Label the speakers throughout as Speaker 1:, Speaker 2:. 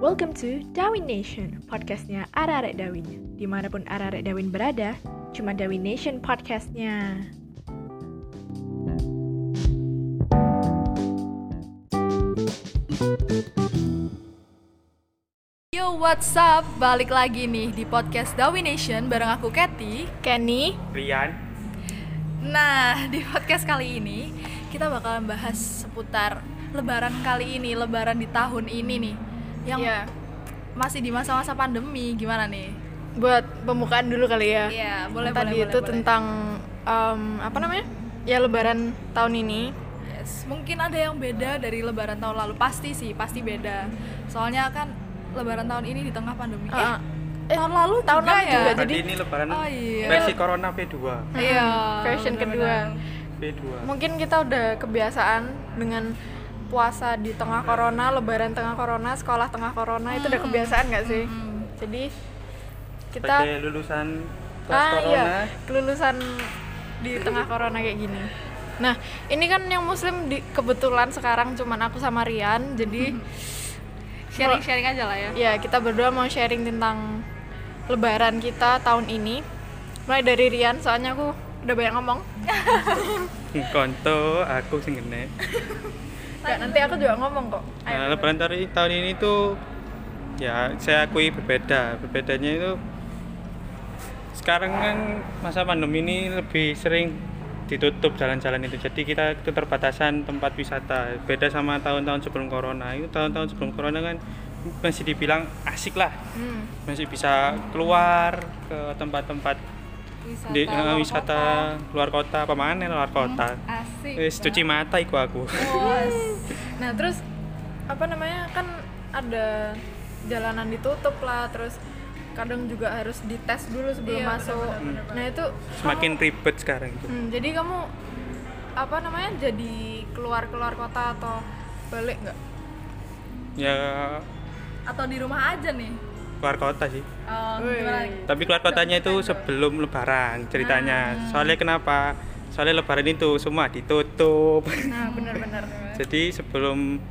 Speaker 1: Welcome to Darwin Nation, podcastnya Ararek Dawin. Dimanapun Ararek Dawin berada, cuma Dawin Nation podcastnya.
Speaker 2: Yo, what's up? Balik lagi nih di podcast Dawi Nation bareng aku Kathy.
Speaker 1: Kenny,
Speaker 3: Rian
Speaker 2: Nah, di podcast kali ini kita bakalan bahas seputar lebaran kali ini, lebaran di tahun ini nih. Yang
Speaker 1: ya
Speaker 2: masih di masa-masa pandemi, gimana nih?
Speaker 1: buat pembukaan dulu kali ya.
Speaker 2: Iya, boleh
Speaker 1: Tadi
Speaker 2: boleh
Speaker 1: itu
Speaker 2: boleh,
Speaker 1: tentang em, apa namanya? Ya Lebaran tahun ini.
Speaker 2: boleh. Yes, mungkin ada yang beda dari lebaran tahun lalu. Pasti sih, pasti beda. Soalnya kan lebaran tahun ini di tengah pandemi.
Speaker 1: Eh,
Speaker 2: Eh, tahun lalu
Speaker 1: tahun
Speaker 2: juga
Speaker 1: lalu
Speaker 2: ya?
Speaker 1: juga.
Speaker 3: berarti
Speaker 1: jadi-
Speaker 3: Ah, ini lebaran
Speaker 2: Oh, iya.
Speaker 3: versi corona V2
Speaker 2: Iya.
Speaker 1: version
Speaker 2: benar-benar.
Speaker 3: V2
Speaker 1: Mungkin kita udah kebiasaan dengan puasa di tengah corona, Lebaran tengah corona, sekolah tengah corona itu udah kebiasaan nggak sih?
Speaker 2: Hmm.
Speaker 1: Jadi kita
Speaker 3: sebagai lulusan kelas
Speaker 1: ah
Speaker 3: corona
Speaker 1: iya kelulusan di tengah corona kayak gini nah ini kan yang muslim di, kebetulan sekarang cuman aku sama Rian jadi
Speaker 2: Sharing-sharing aja lah ya.
Speaker 1: ya kita berdua mau sharing tentang lebaran kita tahun ini mulai dari Rian soalnya aku udah banyak ngomong
Speaker 3: konto aku sing kene.
Speaker 1: Nggak, nanti aku juga ngomong kok
Speaker 3: Nah, lebaran tari- tahun ini tuh ya saya akui berbeda berbedanya itu sekarang kan masa pandemi ini lebih sering ditutup jalan-jalan itu jadi kita itu terbatasan tempat wisata beda sama tahun-tahun sebelum corona itu tahun-tahun sebelum corona kan masih dibilang asik lah
Speaker 1: Hmm.
Speaker 3: masih bisa keluar ke tempat-tempat
Speaker 2: Wisata,
Speaker 3: di eh,
Speaker 2: luar
Speaker 3: wisata
Speaker 2: kota. Hmm.
Speaker 3: luar kota apa mana luar kota
Speaker 2: Asik.
Speaker 3: wis cuci mata iku aku
Speaker 2: Puas.
Speaker 1: nah terus apa namanya kan ada jalanan ditutup lah terus kadang juga harus dites dulu sebelum
Speaker 2: Iya,
Speaker 1: masuk
Speaker 2: benar-benar,
Speaker 1: nah itu
Speaker 3: semakin ribet sekarang itu
Speaker 1: Hmm, jadi kamu apa namanya jadi keluar keluar kota atau balik nggak?
Speaker 3: ya
Speaker 2: Atau di rumah aja nih.
Speaker 3: luar kota sih
Speaker 2: Um,
Speaker 1: Wih.
Speaker 2: gimana lagi?
Speaker 3: tapi keluar kotanya itu sebelum lebaran
Speaker 2: Hmm.
Speaker 3: ceritanya soalnya kenapa soalnya lebaran itu semua ditutup
Speaker 1: Nah benar-benar.
Speaker 3: jadi sebelum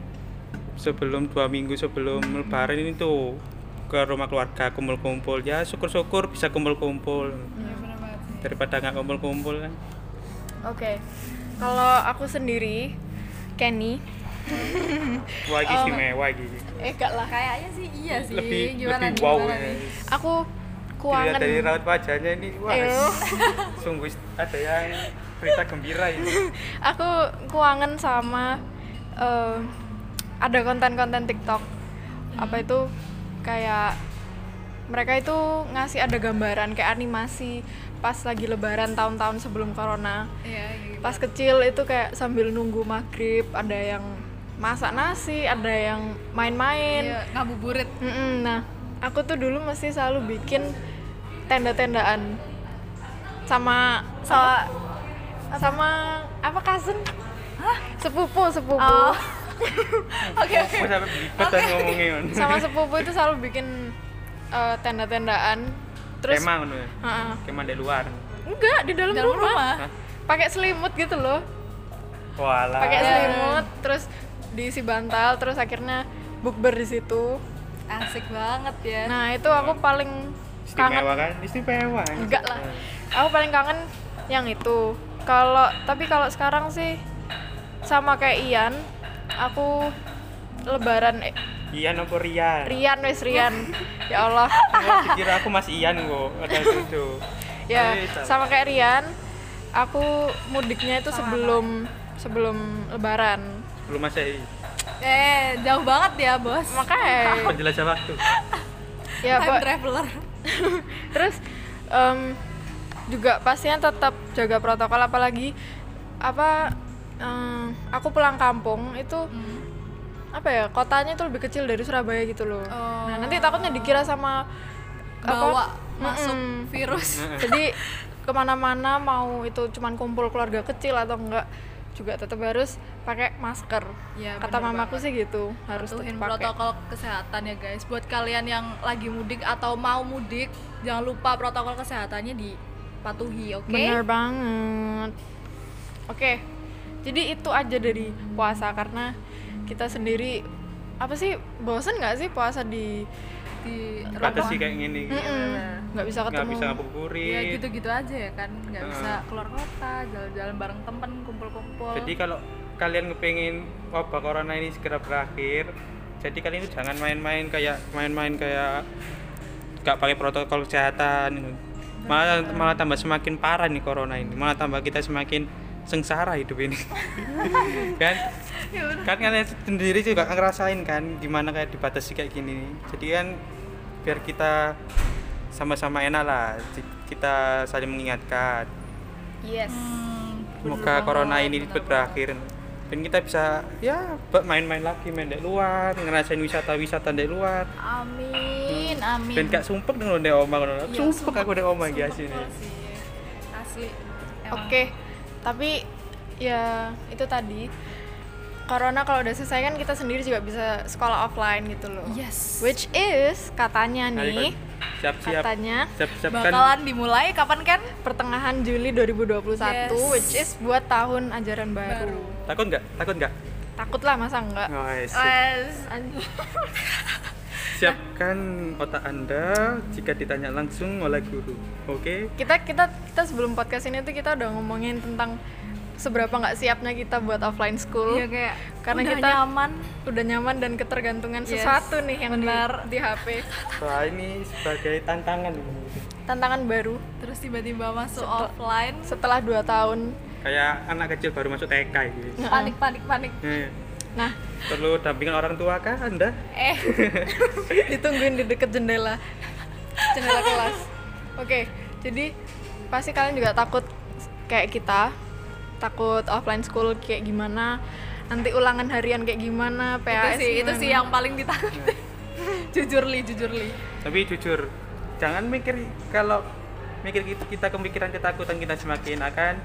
Speaker 3: sebelum dua minggu sebelum lebaran ini tuh ke rumah keluarga kumpul-kumpul ya syukur-syukur bisa kumpul-kumpul
Speaker 2: Iya, bener banget sih.
Speaker 3: daripada nggak kumpul-kumpul kan
Speaker 1: Oke, kalau aku sendiri, Kenny,
Speaker 3: wah
Speaker 2: Oh.
Speaker 3: iki istimewa iki
Speaker 1: eh gak lah.
Speaker 2: Kayaknya sih iya sih.
Speaker 3: lebih
Speaker 2: gimana
Speaker 3: lebih
Speaker 2: nih?
Speaker 3: wow
Speaker 2: gimana
Speaker 3: ya.
Speaker 2: nih?
Speaker 1: Aku
Speaker 3: Dilihat
Speaker 1: keuangan.
Speaker 3: dari raut wajahnya ini wah
Speaker 1: Ew.
Speaker 3: sungguh ada yang berita gembira ini
Speaker 1: Aku keuangan sama eh, ada konten-konten TikTok. Apa itu kayak mereka itu ngasih ada gambaran kayak animasi pas lagi lebaran tahun-tahun sebelum corona.
Speaker 2: Iya, iya, iya.
Speaker 1: pas kecil itu kayak sambil nunggu maghrib ada yang masak nasi ada yang
Speaker 2: Iya,
Speaker 1: main-main
Speaker 2: ngabuburit.
Speaker 1: Mm-mm, nah aku tuh dulu mesti selalu bikin tenda-tendaan sama sama sama apa kasen sepupu sepupu
Speaker 2: Oh. Oke, oke.
Speaker 3: aku sampai belibet dan ngomongnya kan.
Speaker 1: sama sepupu itu selalu bikin eh, tenda-tendaan terus
Speaker 3: kemah ngono ya
Speaker 1: Ha-ha.
Speaker 3: kemah dari luar
Speaker 1: enggak di dalam,
Speaker 2: Dalam
Speaker 1: rumah.
Speaker 2: rumah.
Speaker 3: Hah?
Speaker 1: pakai selimut gitu loh
Speaker 3: walah
Speaker 1: pakai selimut terus diisi bantal terus akhirnya bukber di situ
Speaker 2: Asik banget ya.
Speaker 1: nah itu aku paling kangen
Speaker 3: istimewa kan istimewa Eh,
Speaker 1: enggak lah aku paling kangen yang itu kalau tapi kalau sekarang sih sama kayak Ian aku lebaran eh,
Speaker 3: Ian apa Rian
Speaker 1: Rian wes Rian ya Allah
Speaker 3: Oh, dikira aku Mas Ian kok ada itu
Speaker 1: ya
Speaker 3: Eh, salah.
Speaker 1: sama kayak Rian aku mudiknya itu sebelum sebelum lebaran
Speaker 3: belum masih
Speaker 2: Eh, jauh banget ya, Bos.
Speaker 1: makanya
Speaker 3: penjelajah waktu
Speaker 1: ya
Speaker 2: Time
Speaker 1: Pak,
Speaker 2: traveler.
Speaker 1: terus em, juga pastinya tetap jaga protokol apalagi apa em, aku pulang kampung itu
Speaker 2: Hmm.
Speaker 1: apa ya kotanya itu lebih kecil dari Surabaya gitu loh nah nanti takutnya dikira sama apa,
Speaker 2: Oh. Bawa masuk
Speaker 1: Mm-mm.
Speaker 2: virus.
Speaker 1: jadi kemana-mana mau itu cuman kumpul keluarga kecil atau enggak juga tetap harus pakai masker
Speaker 2: Ya,
Speaker 1: kata
Speaker 2: bener
Speaker 1: mamaku sih gitu harus
Speaker 2: Patuhin
Speaker 1: tetap pakai
Speaker 2: protokol kesehatan ya, guys. Buat kalian yang lagi mudik atau mau mudik, jangan lupa protokol kesehatannya dipatuhi, oke?
Speaker 1: Bener banget. Oke, jadi itu aja dari puasa karena kita sendiri apa sih bosen nggak sih puasa di
Speaker 4: di
Speaker 3: Batas sih kayak gini.
Speaker 1: Mm-mm, nggak bisa ketemu Iya, gitu.
Speaker 3: Nggak bisa ngabuburit.
Speaker 4: ya gitu-gitu aja ya kan nggak
Speaker 3: Nah.
Speaker 4: bisa keluar kota jalan-jalan bareng temen kumpul-kumpul
Speaker 3: Jadi kalau kalian kepingin wabah corona ini segera berakhir, jadi kalian itu jangan main-main kayak main-main kayak nggak pakai protokol kesehatan. gitu. Malah malah tambah semakin parah nih corona ini. Malah tambah kita semakin sengsara hidup ini. kan? kan kalian sendiri juga ngerasain kan gimana kayak dibatasi kayak gini. Jadi kan biar kita sama-sama enak lah. Kita saling mengingatkan
Speaker 4: yes
Speaker 5: Hmm.
Speaker 3: semoga corona ini cepet berakhir dan kita bisa ya ba- main-main lagi main di luar ngerasain wisata-wisata di luar
Speaker 5: Amin, amin.
Speaker 3: dan gak sumpek dengan di oma ngono. sumpek aku di oma ya sini
Speaker 4: asli
Speaker 1: Oke, tapi ya itu tadi corona kalau udah selesai kan kita sendiri juga bisa sekolah offline gitu loh.
Speaker 5: Yes.
Speaker 1: Which is katanya
Speaker 3: Ayo,
Speaker 1: nih,
Speaker 3: siap-siap
Speaker 1: katanya
Speaker 3: siap-siapkan
Speaker 5: Bakalan dimulai kapan kan?
Speaker 1: pertengahan Juli 2021
Speaker 5: Yes.
Speaker 1: which is buat tahun ajaran baru.
Speaker 3: takut nggak takut nggak
Speaker 1: Takut lah masa enggak?
Speaker 3: Oh, iya, sip.
Speaker 5: Wes.
Speaker 3: siapkan otak anda jika ditanya langsung oleh guru oke
Speaker 1: Kita kita kita sebelum podcast ini tuh kita udah ngomongin tentang seberapa nggak siapnya kita buat offline school.
Speaker 4: ya kayak
Speaker 1: Karena
Speaker 5: Iya, Udah
Speaker 1: kita
Speaker 5: nyaman.
Speaker 1: udah nyaman dan ketergantungan
Speaker 4: Yes,
Speaker 1: sesuatu nih yang di- di HP.
Speaker 3: Wah, ini sebagai tantangan
Speaker 1: Tantangan baru
Speaker 5: Terus tiba-tiba masuk offline.
Speaker 1: setelah 2 tahun
Speaker 3: kayak anak kecil baru masuk TK gitu
Speaker 5: Panik, panik, panik.
Speaker 3: Iya.
Speaker 1: Nah,
Speaker 3: perlu dampingan orang tua kah anda
Speaker 5: Eh,
Speaker 1: ditungguin di deket jendela. Jendela kelas. Oke, jadi pasti kalian juga takut kayak kita. Takut offline school kayak gimana. Nanti ulangan harian kayak gimana,
Speaker 5: itu
Speaker 1: PAS
Speaker 5: sih, itu
Speaker 1: gimana.
Speaker 5: sih yang paling ditakuti. jujur li, jujur li.
Speaker 3: tapi jujur jangan mikir kalau mikir kita, kita kemikiran ketakutan kita semakin akan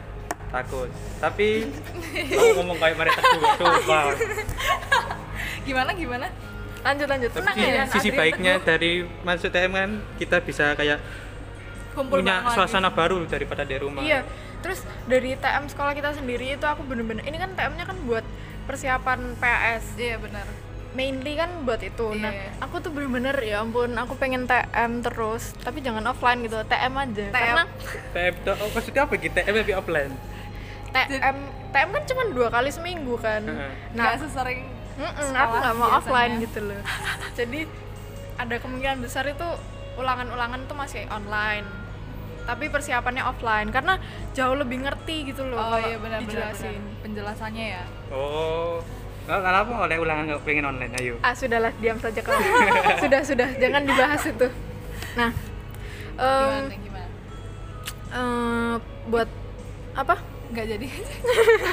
Speaker 3: takut tapi kamu ngomong kayak mereka teguh coba
Speaker 5: Gimana gimana?
Speaker 1: Lanjut lanjut.
Speaker 3: tapi
Speaker 1: Tenang
Speaker 3: si-
Speaker 1: ya.
Speaker 3: sisi baiknya dari masuk TM kan kita bisa kayak
Speaker 5: Kumpul
Speaker 3: punya
Speaker 5: bareng lagi.
Speaker 3: suasana baru daripada di rumah
Speaker 1: Iya. Terus dari TM sekolah kita sendiri itu aku bener-bener ini kan TM-nya kan buat persiapan PAS.
Speaker 5: Iya, benar.
Speaker 1: mainly kan buat itu. Nah,
Speaker 5: Iya.
Speaker 1: aku tuh bener-bener ya ampun, aku pengen TM terus, tapi jangan offline gitu, TM aja. Karena
Speaker 3: TM tuh oh, maksudnya apa gitu TM lebih offline
Speaker 1: TM TM kan cuma dua kali seminggu kan.
Speaker 5: Hmm.
Speaker 3: Heeh.
Speaker 1: Nah,
Speaker 5: Nggak sesering
Speaker 1: mm-mm,
Speaker 5: sekolah
Speaker 1: aku nggak mau
Speaker 5: biasanya.
Speaker 1: offline gitu loh. Jadi ada kemungkinan besar itu ulangan-ulangan tuh masih online. Tapi persiapannya offline karena jauh lebih ngerti gitu loh
Speaker 5: Oh
Speaker 1: kalau
Speaker 5: iya benar benar.
Speaker 1: dijelasin.
Speaker 5: benar. Penjelasannya ya.
Speaker 3: oh kalau kenapa oleh ulangan nggak pengen online ayo
Speaker 1: Ah sudahlah diam saja kamu. sudah sudah jangan dibahas itu. Nah, em,
Speaker 5: Gimana gimana?
Speaker 1: eh, buat apa?
Speaker 5: Nggak jadi.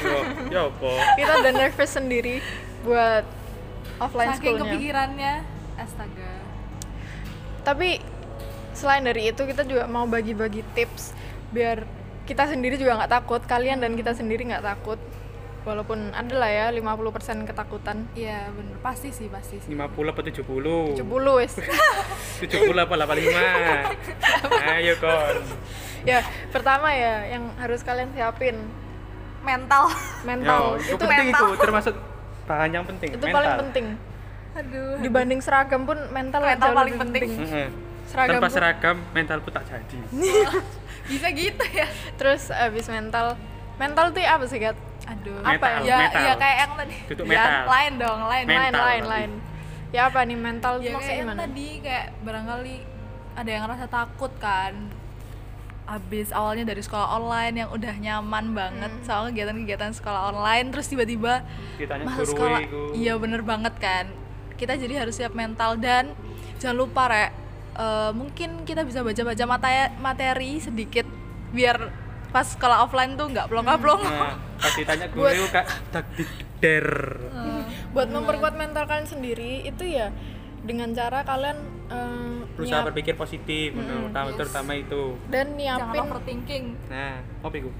Speaker 3: oh, ya apa
Speaker 1: Kita udah nervous sendiri buat offline
Speaker 5: Saking
Speaker 1: schoolnya.
Speaker 5: kepikirannya. Astaga.
Speaker 1: tapi selain dari itu kita juga mau bagi-bagi tips biar kita sendiri juga nggak takut kalian dan kita sendiri nggak takut walaupun ada lah ya 50% ketakutan
Speaker 5: Iya, benar. Pasti sih, pasti sih.
Speaker 3: 50 apa 70
Speaker 1: 70 wes
Speaker 3: 70 apa 85 ayo kon
Speaker 1: ya pertama ya yang harus kalian siapin
Speaker 5: Mental.
Speaker 1: mental
Speaker 3: Yo, itu,
Speaker 1: itu
Speaker 3: penting itu termasuk bahan yang penting
Speaker 1: itu
Speaker 3: mental.
Speaker 1: paling penting
Speaker 5: Aduh.
Speaker 1: dibanding seragam pun mental,
Speaker 5: Mental
Speaker 1: jauh
Speaker 5: paling
Speaker 1: lebih
Speaker 5: penting.
Speaker 3: Mm-mm.
Speaker 1: Seragam
Speaker 3: tanpa
Speaker 1: pun-
Speaker 3: seragam mental pun tak jadi
Speaker 5: Bisa gitu ya.
Speaker 1: terus abis mental mental tuh ya apa sih Gat?
Speaker 5: Aduh.
Speaker 1: Apa ya?
Speaker 3: metal,
Speaker 5: ya,
Speaker 3: metal.
Speaker 5: ya kayak yang tadi.
Speaker 3: Tutup
Speaker 5: Ya,
Speaker 3: metal.
Speaker 5: lain dong, lain.
Speaker 3: Men-
Speaker 1: lain
Speaker 3: Mental,
Speaker 1: lain
Speaker 3: tapi.
Speaker 1: lain ya apa nih mental
Speaker 5: Ya
Speaker 1: tuh
Speaker 5: kayak
Speaker 1: maksudnya
Speaker 5: yang
Speaker 1: gimana
Speaker 5: tadi kayak barangkali ada yang ngerasa takut kan. Habis awalnya dari sekolah online yang udah nyaman banget soal kegiatan-kegiatan sekolah online terus tiba-tiba
Speaker 3: ditanya
Speaker 5: masa
Speaker 3: guru
Speaker 5: sekolah
Speaker 3: iku.
Speaker 5: iya bener banget kan kita jadi harus siap mental dan jangan lupa rek eh, mungkin kita bisa baca baca materi, materi sedikit biar pas sekolah offline tuh nggak plong plong
Speaker 3: nah, pas ditanya guru iku kak tak der Hmm.
Speaker 1: buat memperkuat mental kalian sendiri itu ya dengan cara kalian eh,
Speaker 3: berusaha
Speaker 1: nyiap-
Speaker 3: berpikir positif menurut terutama itu
Speaker 5: jangan
Speaker 1: dan nyiapin
Speaker 5: overthinking
Speaker 3: nah apa iku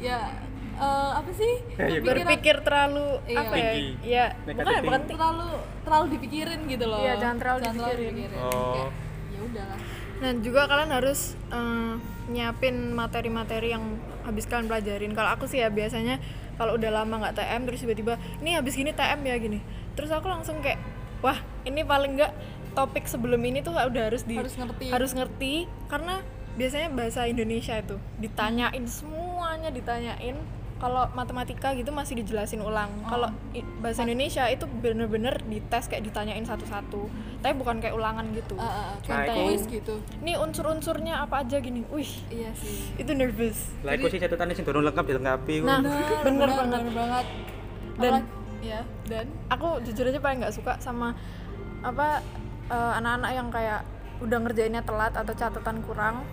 Speaker 5: ya eh, apa sih
Speaker 3: Ya, ya,
Speaker 5: Kepikiran-
Speaker 1: berpikir terlalu
Speaker 5: Iya.
Speaker 1: apa ya
Speaker 3: Tinggi.
Speaker 1: ya
Speaker 3: Negatif
Speaker 1: bukan ya, bukan tinggi.
Speaker 5: terlalu terlalu dipikirin gitu loh
Speaker 1: Iya, jangan terlalu dipikirin.
Speaker 3: oh
Speaker 5: ya udahlah
Speaker 1: dan juga kalian harus eh, nyiapin materi-materi yang habis kalian pelajarin kalau aku sih ya biasanya kalau udah lama nggak TM terus tiba-tiba ini habis gini TM ya gini terus aku langsung kayak wah ini paling enggak topik sebelum ini tuh udah harus di
Speaker 2: Harus ngerti.
Speaker 1: harus ngerti karena biasanya bahasa Indonesia itu ditanyain semuanya ditanyain kalau matematika gitu masih dijelasin ulang
Speaker 2: Oh.
Speaker 1: kalau i- bahasa Indonesia itu bener-bener dites kayak ditanyain satu-satu tapi bukan kayak ulangan
Speaker 5: eh,
Speaker 1: gitu
Speaker 2: Ah, ah, ah,
Speaker 3: Nah,
Speaker 2: kayak
Speaker 3: itu-
Speaker 2: kuis gitu
Speaker 1: ini unsur-unsurnya apa aja gini wih
Speaker 2: iya sih
Speaker 1: itu nervous
Speaker 3: Lah iku sih catatannya sing durung lengkap dilengkapi ku.
Speaker 1: nah bener banget
Speaker 2: bener banget
Speaker 1: dan
Speaker 2: Apalagi- ya dan
Speaker 1: aku jujur aja paling nggak suka sama apa eh, anak-anak yang kayak udah ngerjainnya telat atau catatan kurang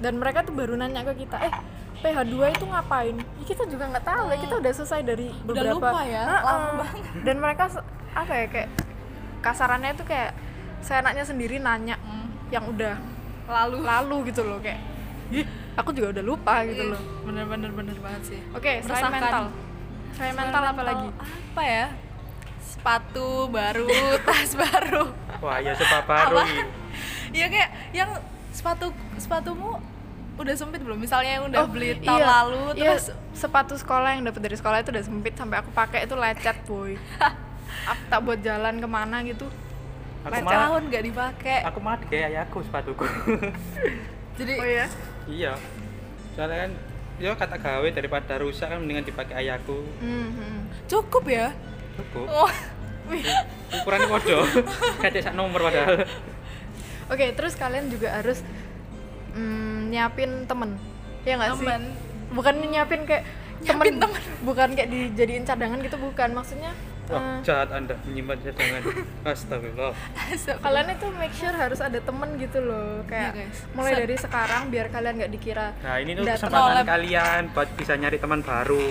Speaker 1: dan mereka tuh baru nanya ke kita eh PH2 itu ngapain? Ya, kita juga nggak tahu ya kita udah selesai dari
Speaker 2: Hmm.
Speaker 1: beberapa
Speaker 2: lupa ya,
Speaker 1: Heeh.
Speaker 2: lama banget.
Speaker 1: dan mereka se- apa ya kayak kasarannya itu kayak seenaknya sendiri nanya
Speaker 2: Hmm.
Speaker 1: yang udah lalu lalu gitu loh kayak "Ih, aku juga udah lupa gitu loh
Speaker 2: bener-bener bener banget sih
Speaker 1: oke selain
Speaker 2: Iya. Meresahkan.
Speaker 1: mental selain mental apa lagi
Speaker 2: apa ya sepatu baru tas baru
Speaker 3: Wah, ya sepa baru
Speaker 2: Apa?
Speaker 3: iki.
Speaker 2: Iya kayak yang sepatu sepatumu udah sempit belum? Misalnya yang udah
Speaker 1: Oh,
Speaker 2: beli tahun
Speaker 1: iya.
Speaker 2: lalu
Speaker 1: Iya,
Speaker 2: terus
Speaker 1: sepatu sekolah yang dapat dari sekolah itu udah sempit sampai aku pakai itu lecet boy aku tak buat jalan kemana gitu
Speaker 3: Aku
Speaker 2: Mas
Speaker 3: malah
Speaker 2: tahun gak dipakai.
Speaker 3: aku malah kayak ayahku sepatuku.
Speaker 2: Jadi
Speaker 1: oh ya
Speaker 3: iya. Soalnya kan ya kata gawe daripada rusak kan mendingan dipakai ayahku.
Speaker 1: Mhm.
Speaker 2: cukup ya.
Speaker 3: Cukup.
Speaker 2: Oh,
Speaker 3: Ukurannya podo. Kayak sak nomor padahal.
Speaker 1: oke terus kalian juga harus mm, nyiapin temen ya nggak sih
Speaker 2: Temen.
Speaker 1: bukan nyiapin kayak temen, bukan kayak dijadiin cadangan gitu bukan maksudnya
Speaker 3: Wah,
Speaker 1: eh,
Speaker 3: jahat Anda menyimpan cadangan. Astagfirullah.
Speaker 2: astagfirullah.
Speaker 1: kalian itu make sure harus ada temen gitu loh kayak
Speaker 2: Iya, guys.
Speaker 1: mulai
Speaker 2: Set.
Speaker 1: dari sekarang biar kalian nggak dikira
Speaker 3: Nah, ini tuh
Speaker 1: nggak
Speaker 3: kesempatan
Speaker 2: teroleh.
Speaker 3: kalian buat bisa nyari teman baru.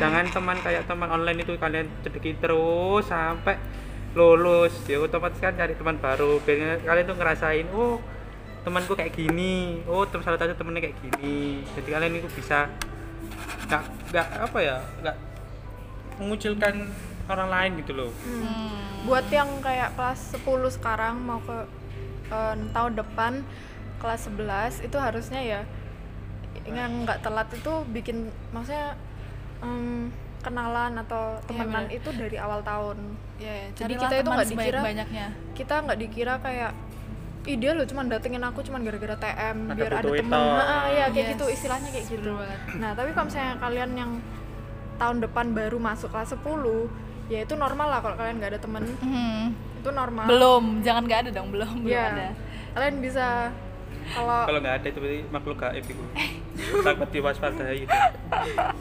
Speaker 3: Jangan teman kayak teman online itu kalian cedeki terus sampai lulus. Ya otomatis kan cari teman baru. Biar kalian tuh ngerasain, oh temanku kayak gini, oh terus salah satu temennya kayak gini. Jadi kalian itu bisa nggak nggak apa ya nggak mengucilkan orang lain gitu loh.
Speaker 1: buat yang kayak kelas 10 sekarang mau ke eh, tahun depan kelas 11 itu harusnya ya yang nggak telat itu bikin maksudnya em, kenalan atau temenan
Speaker 2: Iya, bener.
Speaker 1: itu dari awal tahun
Speaker 2: Ya, ya,
Speaker 1: Iya, Jadi
Speaker 2: carilah
Speaker 1: kita itu
Speaker 2: teman
Speaker 1: nggak dikira-
Speaker 2: sebanyak-banyaknya.
Speaker 1: kita nggak dikira kayak ide lo cuman datengin aku cuman gara-gara TM
Speaker 3: Ada
Speaker 1: biar ada
Speaker 3: butuh
Speaker 1: temen
Speaker 3: itu.
Speaker 1: ah, ya kayak
Speaker 2: Yes,
Speaker 1: gitu istilahnya kayak gitu
Speaker 2: bener banget.
Speaker 1: nah tapi kalau misalnya kalian yang tahun depan baru masuk kelas 10 ya itu normal lah kalau kalian nggak ada temen
Speaker 2: Hmm,
Speaker 1: itu normal
Speaker 2: Belum, jangan nggak ada dong, belum, belum
Speaker 1: Iya.
Speaker 2: ada.
Speaker 1: Kalian bisa kalau
Speaker 3: Kalau nggak ada itu berarti makhluk gaib itu.
Speaker 1: Eh.
Speaker 3: Sangat diwaspadai itu.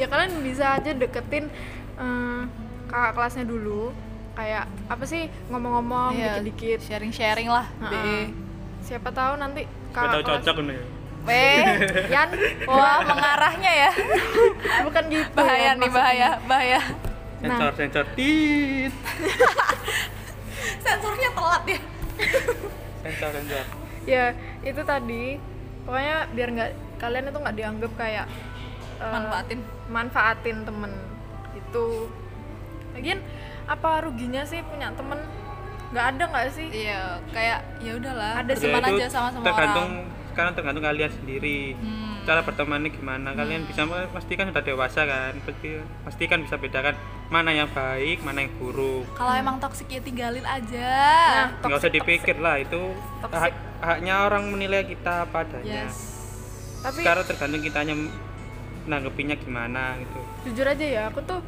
Speaker 1: ya kalian bisa aja deketin eh, kakak kelasnya dulu kayak apa sih ngomong-ngomong
Speaker 2: Iya,
Speaker 1: dikit-dikit.
Speaker 2: Sharing-sharing lah, B.
Speaker 1: Heeh. Siapa tahu nanti
Speaker 3: Tahu
Speaker 1: kakak kelas Eh,
Speaker 3: cocok nih.
Speaker 2: B.
Speaker 1: Yan,
Speaker 2: Wah, mengarahnya ya.
Speaker 1: bukan gitu.
Speaker 2: Bahaya
Speaker 1: Yan,
Speaker 2: nih,
Speaker 1: maksudnya.
Speaker 2: bahaya, bahaya.
Speaker 3: Sensor, sensor, tit,
Speaker 2: Sensornya telat ya.
Speaker 3: sensor, sensor.
Speaker 1: Ya, itu tadi pokoknya biar nggak kalian itu nggak dianggap kayak eh,
Speaker 2: Manfaatin.
Speaker 1: manfaatin temen itu lagian apa ruginya sih punya temen nggak ada nggak sih
Speaker 2: Iya, kayak ya udahlah.
Speaker 1: Ada
Speaker 2: berteman
Speaker 3: Ya, itu
Speaker 2: aja sama-sama
Speaker 3: tergantung
Speaker 2: orang.
Speaker 3: sekarang tergantung kalian sendiri
Speaker 1: Hmm.
Speaker 3: cara bertemannya gimana kalian bisa me- pastikan sudah dewasa kan pasti pastikan bisa bedakan mana yang baik mana yang buruk
Speaker 2: Kalau emang toksik ya tinggalin aja.
Speaker 1: nah
Speaker 3: nggak usah
Speaker 1: toxic-
Speaker 3: dipikir lah itu hak, haknya orang menilai kita apa adanya
Speaker 2: yes.
Speaker 1: tapi
Speaker 3: sekarang tergantung kitanya menanggapinya gimana gitu
Speaker 1: jujur aja ya aku tuh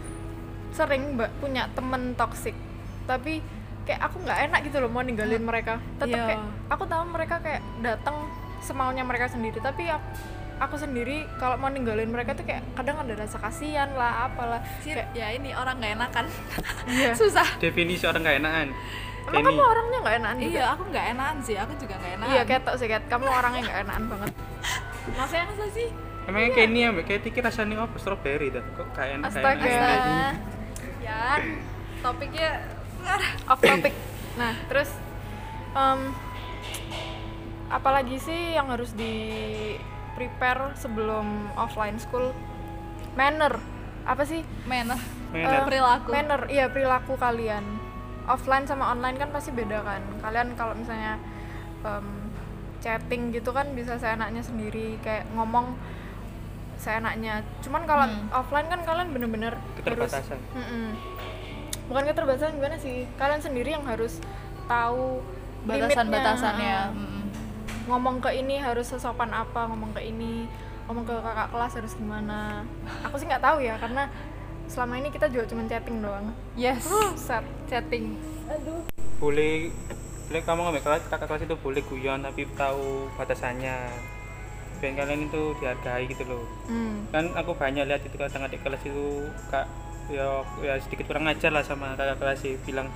Speaker 1: sering mbak punya temen toksik tapi kayak aku nggak enak gitu loh mau ninggalin mereka tetap
Speaker 2: Iya.
Speaker 1: kayak aku tahu mereka kayak datang semaunya mereka sendiri tapi aku, aku sendiri kalau mau ninggalin mereka tuh kayak kadang ada rasa kasihan lah apalah
Speaker 2: Sir,
Speaker 1: kayak
Speaker 2: ya ini orang nggak enakan.
Speaker 1: Iya.
Speaker 2: Susah.
Speaker 3: definisi orang nggak enakan
Speaker 1: emang kamu orangnya nggak enakan juga
Speaker 2: Iya, aku nggak enakan sih. Aku juga nggak enakan.
Speaker 1: iya ketok sih Kat. kamu orangnya nggak enakan banget maksudnya
Speaker 2: Masa sih?
Speaker 3: emangnya Kenny ya mbak Kayak Tiki rasanya apa strawberry dah kok kayak enak kayak
Speaker 1: Astaga.
Speaker 3: enak.
Speaker 2: Ah,
Speaker 1: ya
Speaker 2: topiknya
Speaker 1: off topic nah terus em, apalagi sih yang harus di prepare sebelum offline school manner apa sih
Speaker 2: manner.
Speaker 3: Manner.
Speaker 2: Perilaku.
Speaker 1: manner iya perilaku kalian offline sama online kan pasti beda kan kalian kalau misalnya em, chatting gitu kan bisa seenaknya sendiri kayak ngomong seenaknya cuman kalau offline kan kalian bener-bener harus
Speaker 3: keterbatasan
Speaker 1: Mm-mm. bukan keterbatasan gimana sih kalian sendiri yang harus tahu limitnya.
Speaker 2: batasan-batasannya
Speaker 1: Ah, ngomong ke ini harus sesopan apa ngomong ke ini ngomong ke kakak kelas harus gimana aku sih nggak tahu ya karena selama ini kita juga cuma chatting doang
Speaker 2: yes
Speaker 1: set
Speaker 2: chatting
Speaker 3: boleh boleh kamu ngambil kelas kakak kelas itu boleh guyon tapi tahu batasannya dan kalian itu dihargai gitu loh
Speaker 1: hmm.
Speaker 3: kan aku banyak lihat itu kadang adik kelas itu kak ya, ya sedikit kurang ajar lah sama kakak kelas sih bilang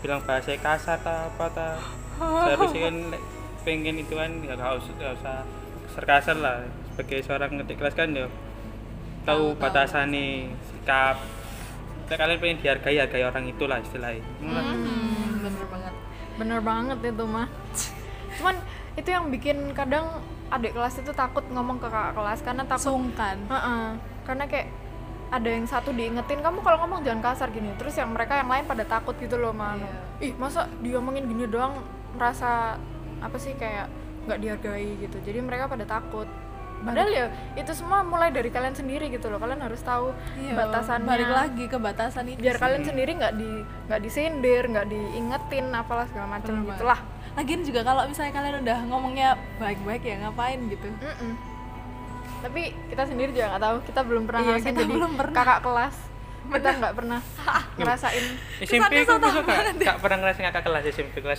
Speaker 3: bilang bahasa kasar ta apa ta seharusnya kan le- pengen itu kan ya nggak usah, nggak usah kasar kasar lah sebagai seorang adik kelas kan ya tahu batasan nih sikap Kita kalian pengen dihargai hargai orang itulah istilahnya hmm.
Speaker 2: hmm, bener banget
Speaker 1: bener banget itu mah cuman itu yang bikin kadang adik kelas itu takut ngomong ke kakak kelas karena takut
Speaker 2: sungkan
Speaker 1: Heeh, karena kayak ada yang satu diingetin kamu kalau ngomong jangan kasar gini terus yang mereka yang lain pada takut gitu loh mano
Speaker 2: Iya.
Speaker 1: ih masa diomongin gini doang merasa apa sih kayak nggak dihargai gitu jadi mereka pada takut padahal ya itu semua mulai dari kalian sendiri gitu loh kalian harus tahu batasannya
Speaker 2: Iya, balik lagi ke batasan itu
Speaker 1: biar kalian sendiri nggak di nggak disindir nggak diingetin apalah segala macam gitu
Speaker 2: banget.
Speaker 1: gitulah
Speaker 2: lagian juga kalau misalnya kalian udah ngomongnya baik-baik ya ngapain gitu
Speaker 1: Mm-mm. tapi kita sendiri juga nggak tahu kita belum pernah
Speaker 2: Iya,
Speaker 1: ngerasain
Speaker 2: kita
Speaker 1: jadi
Speaker 2: belum pernah.
Speaker 1: kakak kelas kita nggak pernah ngerasain
Speaker 3: SMP aku bisa kak, Kak pernah ngerasain kakak kelas SMP kelas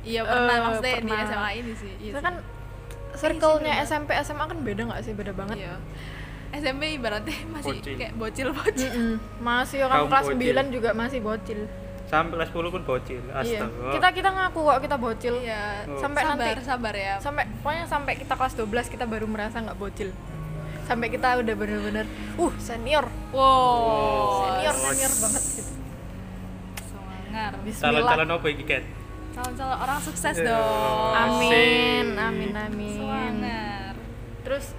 Speaker 3: 9
Speaker 5: Iya pernah
Speaker 1: Eh,
Speaker 5: maksudnya
Speaker 1: pernah.
Speaker 5: di SMA ini sih. Iya.
Speaker 1: Soalnya
Speaker 5: sih.
Speaker 1: kan circle-nya SMP SMA kan beda nggak sih beda banget
Speaker 5: Iya. SMP ibaratnya masih
Speaker 3: Bocil.
Speaker 5: kayak bocil-bocil.
Speaker 1: Mm-mm. Mm. masih orang
Speaker 3: Kaum
Speaker 1: kelas
Speaker 3: bocil.
Speaker 1: 9 juga masih bocil
Speaker 3: sampai kelas 10 pun bocil
Speaker 1: iya
Speaker 3: astaga Oh.
Speaker 1: kita kita ngaku kok kita bocil
Speaker 5: Iya.
Speaker 1: sampai
Speaker 5: sabar,
Speaker 1: nanti
Speaker 5: sabar ya.
Speaker 1: sampai pokoknya sampai kita kelas 12 kita baru merasa nggak bocil sampai kita udah bener-bener uh senior
Speaker 5: Wow.
Speaker 1: senior senior banget gitu
Speaker 5: Semangar.
Speaker 1: Bismillah
Speaker 3: Oh, calon-calon apa ini Kat?
Speaker 5: Calon-calon orang sukses
Speaker 3: Iya.
Speaker 5: dong.
Speaker 1: amin amin amin
Speaker 5: Semangar.
Speaker 1: terus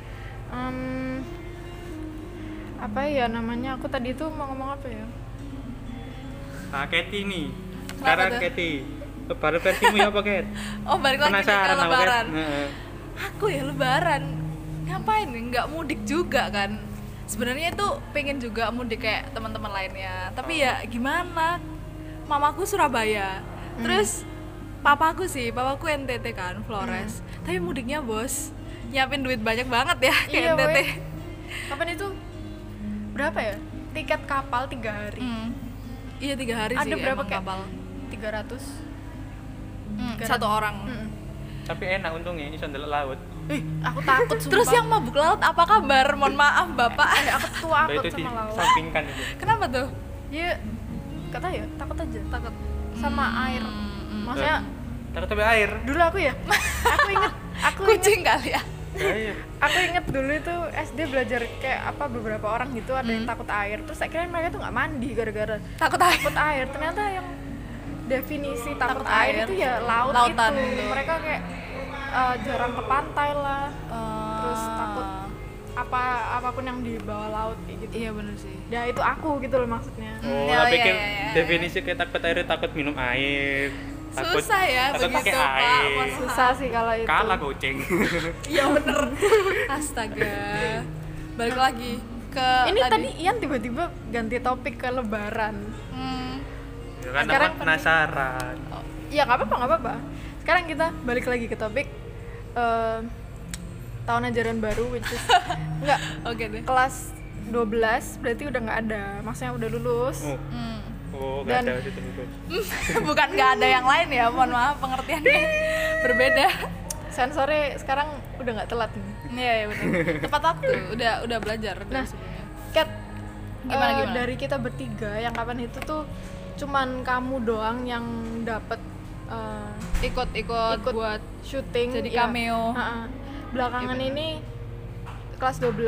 Speaker 1: em, apa ya namanya aku tadi tuh mau ngomong apa ya
Speaker 3: Nah, Kety nih. Sekarang Kety. Lebaran versimu ya apa, Ket?
Speaker 5: Oh, balik lagi nih ke
Speaker 3: Penasaran apa, Ket?
Speaker 5: lebaran.
Speaker 3: Heeh.
Speaker 5: Aku ya lebaran. Ngapain? Nggak mudik juga kan. Sebenarnya itu pengen juga mudik kayak teman-teman lainnya. Tapi
Speaker 1: Oh.
Speaker 5: ya gimana? Mamaku Surabaya.
Speaker 1: Hmm.
Speaker 5: Terus papaku sih, papaku NTT kan, Flores.
Speaker 1: Hmm.
Speaker 5: Tapi mudiknya, Bos, nyiapin duit banyak banget ya ke
Speaker 1: Iya,
Speaker 5: NTT.
Speaker 1: weh. kapan itu berapa ya tiket kapal tiga hari
Speaker 5: Hmm. Iya, tiga hari
Speaker 1: Ada
Speaker 5: sih
Speaker 1: berapa,
Speaker 5: emang
Speaker 1: Kat?
Speaker 5: kapal.
Speaker 1: 300
Speaker 5: Hmm, satu orang.
Speaker 1: Mm-mm.
Speaker 3: Tapi enak untungnya ini sandal laut.
Speaker 1: ih aku takut sumpah. Eh,
Speaker 5: Terus yang mabuk laut apa kabar? Mohon maaf, Bapak.
Speaker 1: aku tua
Speaker 3: Nah,
Speaker 1: aku
Speaker 3: itu
Speaker 1: sama laut
Speaker 3: disampingkan itu.
Speaker 5: Kenapa tuh?
Speaker 1: ya kata ya takut aja takut sama
Speaker 5: Hmm,
Speaker 1: air maksudnya
Speaker 3: Takut tapi air.
Speaker 1: dulu aku ya aku inget aku inget
Speaker 5: Kucing kali ya.
Speaker 3: Air.
Speaker 1: aku inget dulu itu SD belajar kayak apa beberapa orang gitu ada
Speaker 5: Hmm.
Speaker 1: yang takut air terus saya kira mereka tuh nggak mandi gara-gara
Speaker 5: Takut air.
Speaker 1: takut air ternyata yang definisi takut,
Speaker 5: Takut
Speaker 1: air,
Speaker 5: air.
Speaker 1: itu ya laut
Speaker 5: Lautan iya.
Speaker 1: itu.
Speaker 5: itu.
Speaker 1: mereka kayak eh, jarang ke pantai lah terus
Speaker 5: Ah.
Speaker 1: takut apa apapun yang di bawah laut kayak gitu
Speaker 5: Iya bener sih.
Speaker 1: ya itu aku gitu loh maksudnya
Speaker 3: Oh,
Speaker 5: iya,
Speaker 3: tak
Speaker 1: ya,
Speaker 5: iya,
Speaker 3: pikir
Speaker 5: iya, iya.
Speaker 3: definisi kayak takut air itu takut minum air. Takut,
Speaker 5: Susah ya
Speaker 3: takut
Speaker 5: begitu,
Speaker 3: pakai
Speaker 5: Pak.
Speaker 3: air.
Speaker 5: Mohon
Speaker 1: susah sih kalau itu
Speaker 3: Kalah kucing.
Speaker 5: Iya bener. Astaga. Balik lagi ke
Speaker 1: ini tadi Ian tiba-tiba ganti topik ke Lebaran
Speaker 5: Hmm,
Speaker 3: ya kan
Speaker 1: Sekarang
Speaker 3: aku penasaran.
Speaker 1: ya nggak apa-apa nggak apa-apa sekarang kita balik lagi ke topik eh, tahun ajaran baru which is nggak
Speaker 5: Oke deh.
Speaker 1: kelas 12 berarti udah nggak ada maksudnya udah lulus
Speaker 3: Oh,
Speaker 5: Hmm.
Speaker 3: oh enggak
Speaker 1: Dan-
Speaker 3: ada situ itu.
Speaker 5: Bukan nggak ada yang lain ya, mohon maaf pengertiannya berbeda.
Speaker 1: sensornya sekarang udah nggak telat nih
Speaker 5: Iya iya bener. Tepat waktu. Udah udah belajar dari
Speaker 1: Nah.
Speaker 5: sebelumnya.
Speaker 1: Kat,
Speaker 5: Gimana,
Speaker 1: eh,
Speaker 5: gimana?
Speaker 1: dari kita bertiga yang kapan itu tuh cuman kamu doang yang dapet eh,
Speaker 5: Ikut-ikut
Speaker 1: Ikut.
Speaker 5: buat
Speaker 1: syuting
Speaker 5: Jadi cameo.
Speaker 1: Ha-ha. belakangan ini kelas 12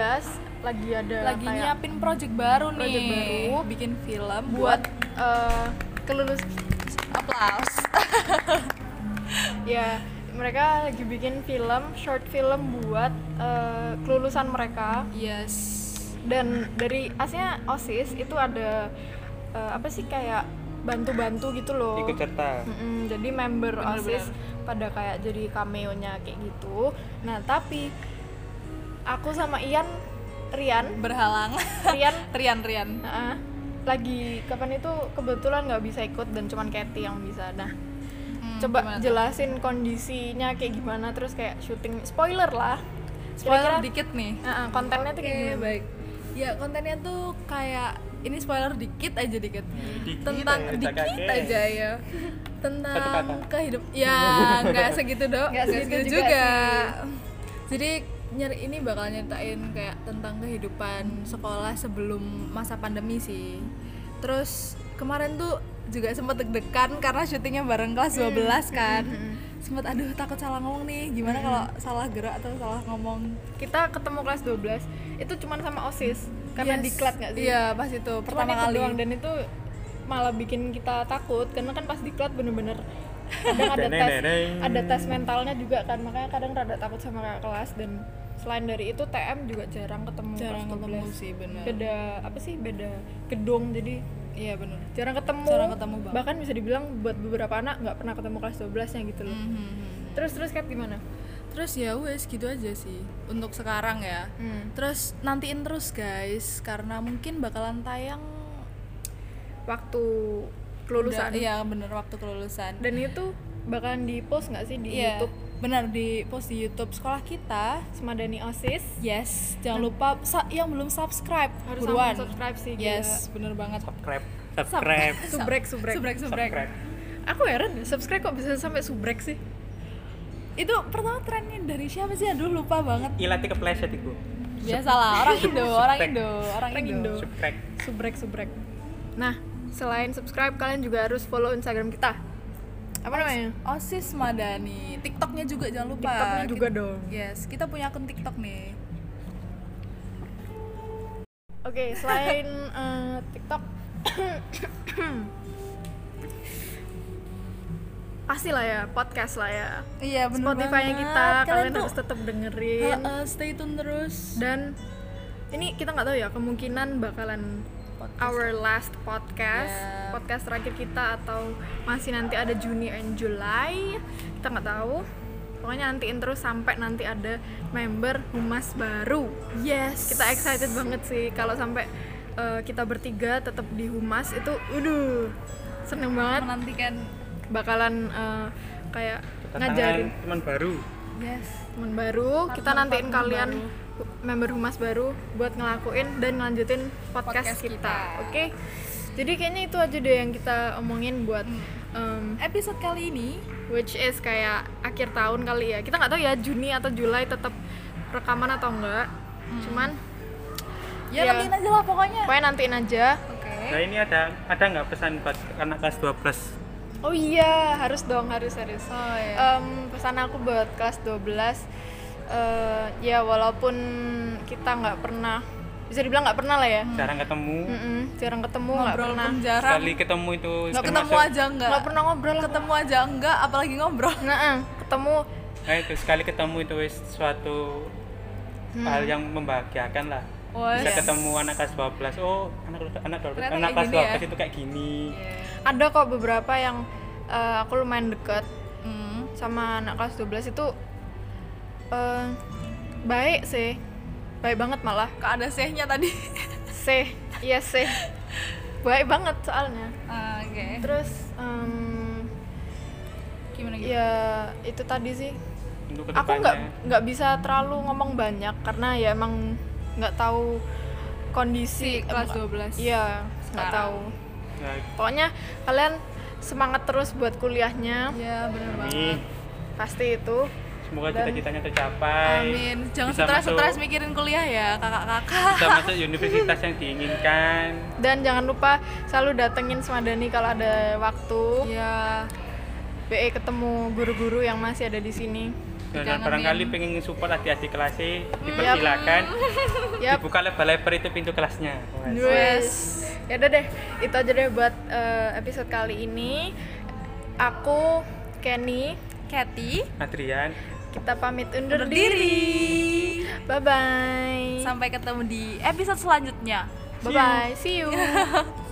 Speaker 1: lagi ada
Speaker 5: lagi
Speaker 1: kayak
Speaker 5: nyiapin eh, ya? project baru nih.
Speaker 1: Project baru.
Speaker 5: bikin film
Speaker 1: buat eh, kelulus
Speaker 5: aplaus.
Speaker 1: ya mereka lagi bikin film short film buat eh, kelulusan mereka
Speaker 5: Yes.
Speaker 1: dan dari asnya osis itu ada eh, apa sih kayak bantu-bantu gitu loh
Speaker 3: Ikut serta.
Speaker 1: Mm-mm, jadi member
Speaker 5: Bener-bener.
Speaker 1: OSIS pada kayak jadi cameo-nya kayak gitu. Nah, tapi aku sama Ian Rian,
Speaker 5: Berhalang.
Speaker 1: Rian
Speaker 5: Rian Rian.
Speaker 1: ah, lagi kapan itu kebetulan nggak bisa ikut dan cuman Kathy yang bisa nah
Speaker 5: Hmm,
Speaker 1: coba jelasin kondisinya kayak gimana terus kayak syuting spoiler lah
Speaker 5: spoiler
Speaker 1: Kira-kira-
Speaker 5: dikit nih
Speaker 1: Ah, ah, kontennya tuh
Speaker 5: Oke,
Speaker 1: kayak gimana
Speaker 5: baik. Ya, kontennya tuh kayak ini spoiler dikit aja dikit.
Speaker 3: Iya, Dikit
Speaker 5: Tentang
Speaker 3: aja.
Speaker 5: dikit
Speaker 3: Kakek.
Speaker 5: aja ya.
Speaker 3: Satu
Speaker 5: Tentang
Speaker 3: kata.
Speaker 5: kehidup ya nggak segitu dong.
Speaker 2: Nggak segitu juga
Speaker 5: Jadi nyari ini bakal nyeritain kayak tentang kehidupan sekolah sebelum masa pandemi sih. Terus kemarin tuh juga sempat deg-degan karena syutingnya bareng kelas 12 kan.
Speaker 2: Mm-hmm.
Speaker 5: Sempat aduh takut salah ngomong nih. Gimana kalau salah gerak atau salah ngomong?
Speaker 1: kita ketemu kelas 12 itu cuman sama osis karena
Speaker 5: Yes.
Speaker 1: diklat nggak sih
Speaker 5: Iya, pas itu
Speaker 1: Cuman
Speaker 5: pertama
Speaker 1: itu
Speaker 5: kali.
Speaker 1: doang, dan itu malah bikin kita takut karena kan pas diklat bener-bener kadang ada tes
Speaker 3: Deneng-deneng.
Speaker 1: ada tes mentalnya juga kan makanya kadang rada takut sama kakak kelas dan selain dari itu TM juga jarang ketemu
Speaker 5: Jarang
Speaker 1: kelas
Speaker 5: ketemu
Speaker 1: 12.
Speaker 5: sih, bener.
Speaker 1: beda apa sih beda gedung jadi
Speaker 5: Iya, bener.
Speaker 1: jarang ketemu
Speaker 5: Jarang ketemu banget.
Speaker 1: bahkan bisa dibilang buat beberapa anak nggak pernah ketemu kelas 12 nya gitu loh
Speaker 5: Hmm.
Speaker 1: terus terus kayak gimana
Speaker 5: Terus ya wes gitu aja sih untuk sekarang ya. Terus nantiin terus guys karena mungkin bakalan tayang
Speaker 1: waktu kelulusan
Speaker 5: udah- Iya, bener waktu kelulusan.
Speaker 1: dan itu bakalan di post nggak sih di
Speaker 5: Iya,
Speaker 1: YouTube
Speaker 5: benar di post di YouTube sekolah kita.
Speaker 1: Semadani Osis
Speaker 5: Yes, jangan lupa sa- yang belum subscribe
Speaker 1: Nah. harus
Speaker 5: buruan.
Speaker 1: langsung subscribe sih gila.
Speaker 5: Yes, bener banget.
Speaker 3: subscribe subscribe
Speaker 1: subrek subrek
Speaker 5: Subrek, subrek.
Speaker 3: subscribe
Speaker 1: aku heran ya, subscribe kok bisa sampai subrek sih
Speaker 5: Itu pertama trennya dari siapa sih? Aduh, lupa banget.
Speaker 3: ilati kepleset iku
Speaker 5: Biasalah, orang Indo, orang
Speaker 3: Subrek.
Speaker 5: Indo, orang
Speaker 1: Orang
Speaker 5: Indo.
Speaker 1: Indo.
Speaker 3: subscribe
Speaker 1: subrek subrek nah selain subscribe kalian juga harus follow Instagram kita apa namanya
Speaker 5: Osis Madani, TikToknya juga jangan lupa.
Speaker 1: TikToknya juga
Speaker 5: Kit-
Speaker 1: dong
Speaker 5: Yes, kita punya akun TikTok nih.
Speaker 1: oke selain eh, TikTok pasti lah ya podcast lah ya
Speaker 5: Iya
Speaker 1: Spotify-nya kita kalian, harus tetap dengerin
Speaker 5: stay tune terus.
Speaker 1: dan ini kita nggak tahu ya kemungkinan bakalan our last podcast
Speaker 5: Yap.
Speaker 1: podcast terakhir kita atau masih nanti ada Juni and July kita nggak tahu pokoknya nantiin terus sampai nanti ada member humas baru
Speaker 5: Yes.
Speaker 1: kita excited banget sih kalau sampai uh, kita bertiga tetap di humas itu udah seneng banget
Speaker 5: menantikan.
Speaker 1: bakalan uh, kayak
Speaker 3: Kedatangan
Speaker 1: ngajarin
Speaker 3: teman baru
Speaker 5: Yes.
Speaker 1: teman baru kita nantiin kalian hu- member humas baru buat ngelakuin dan ngelanjutin podcast,
Speaker 5: Podcast
Speaker 1: kita,
Speaker 5: kita.
Speaker 1: oke jadi kayaknya itu aja deh yang kita omongin buat
Speaker 5: Hmm.
Speaker 1: um,
Speaker 5: Episode kali ini
Speaker 1: which is kayak akhir tahun kali ya kita nggak tahu ya Juni atau Juli tetap rekaman atau enggak cuman
Speaker 5: ya
Speaker 1: Iya.
Speaker 5: nantiin aja lah pokoknya.
Speaker 1: pokoknya nantiin aja
Speaker 5: Oke.
Speaker 3: nah ini ada ada nggak pesan buat anak kelas 12
Speaker 1: oh iya harus dong harus harus
Speaker 5: Oh ya.
Speaker 1: Em, pesan aku buat kelas 12 eh, ya walaupun kita nggak pernah bisa dibilang nggak pernah lah ya
Speaker 5: Hmm.
Speaker 3: jarang ketemu
Speaker 1: Mm-mm, jarang ketemu nggak
Speaker 5: ngobrol
Speaker 1: pernah
Speaker 5: pun jarang.
Speaker 3: sekali ketemu itu
Speaker 5: Nggak ketemu aja enggak.
Speaker 1: nggak pernah ngobrol lah.
Speaker 5: Ketemu aja enggak, apalagi ngobrol.
Speaker 1: nah eh, ketemu
Speaker 3: Nah, itu sekali ketemu itu wis suatu
Speaker 5: Hmm.
Speaker 3: hal yang membahagiakan lah.
Speaker 5: Wes.
Speaker 3: Bisa ketemu anak kelas 12. Oh, anak anak
Speaker 5: Oh,
Speaker 3: 12.
Speaker 5: iya. Ternyata
Speaker 3: anak
Speaker 5: kayak gini
Speaker 3: kelas
Speaker 5: ya. Iya.
Speaker 3: 12 itu kayak gini.
Speaker 1: ada kok beberapa yang eh, aku lumayan deket
Speaker 5: Hmm.
Speaker 1: sama anak kelas 12 itu eh, baik sih baik banget malah
Speaker 5: Kok ada sehnya tadi?
Speaker 1: sih iya sih baik banget soalnya
Speaker 5: Ah, Oke.
Speaker 1: terus em,
Speaker 5: Gimana gitu?
Speaker 1: ya itu tadi sih
Speaker 3: Untuk
Speaker 1: aku
Speaker 3: kedepannya.
Speaker 1: nggak nggak bisa terlalu ngomong banyak karena ya emang nggak tahu
Speaker 5: Si
Speaker 1: kondisi
Speaker 5: kelas 12.
Speaker 1: iya nggak
Speaker 5: Sekarang.
Speaker 1: tahu
Speaker 3: Nah,
Speaker 1: pokoknya kalian semangat terus buat kuliahnya
Speaker 5: Iya, bener
Speaker 3: ini
Speaker 5: banget.
Speaker 1: pasti itu
Speaker 3: semoga
Speaker 1: Dan-
Speaker 3: cita-citanya tercapai.
Speaker 5: Amin. Jangan
Speaker 3: Bisa
Speaker 5: stres-stres
Speaker 3: masuk-
Speaker 5: mikirin kuliah ya, kakak-kakak.
Speaker 3: Bisa masuk universitas yang diinginkan.
Speaker 1: dan jangan lupa selalu datengin Semadani kalau ada waktu
Speaker 5: Iya.
Speaker 1: BE ketemu guru-guru yang masih ada di sini
Speaker 3: Dan
Speaker 5: Jangan
Speaker 3: barangkali
Speaker 5: yang- Hmm.
Speaker 3: pengen support adik-adik kelasnya, dipersilakan.
Speaker 1: Yap.
Speaker 3: Dibuka lebar-lebar itu pintu kelasnya. Wes.
Speaker 1: Yes. Ya udah deh, itu aja deh buat eh, episode kali ini. Aku Kenny,
Speaker 5: Cathy.
Speaker 3: Adrian,
Speaker 1: kita pamit undur diri.
Speaker 5: Berdiri.
Speaker 1: Bye bye.
Speaker 5: Sampai ketemu di episode selanjutnya.
Speaker 1: Bye bye. See you.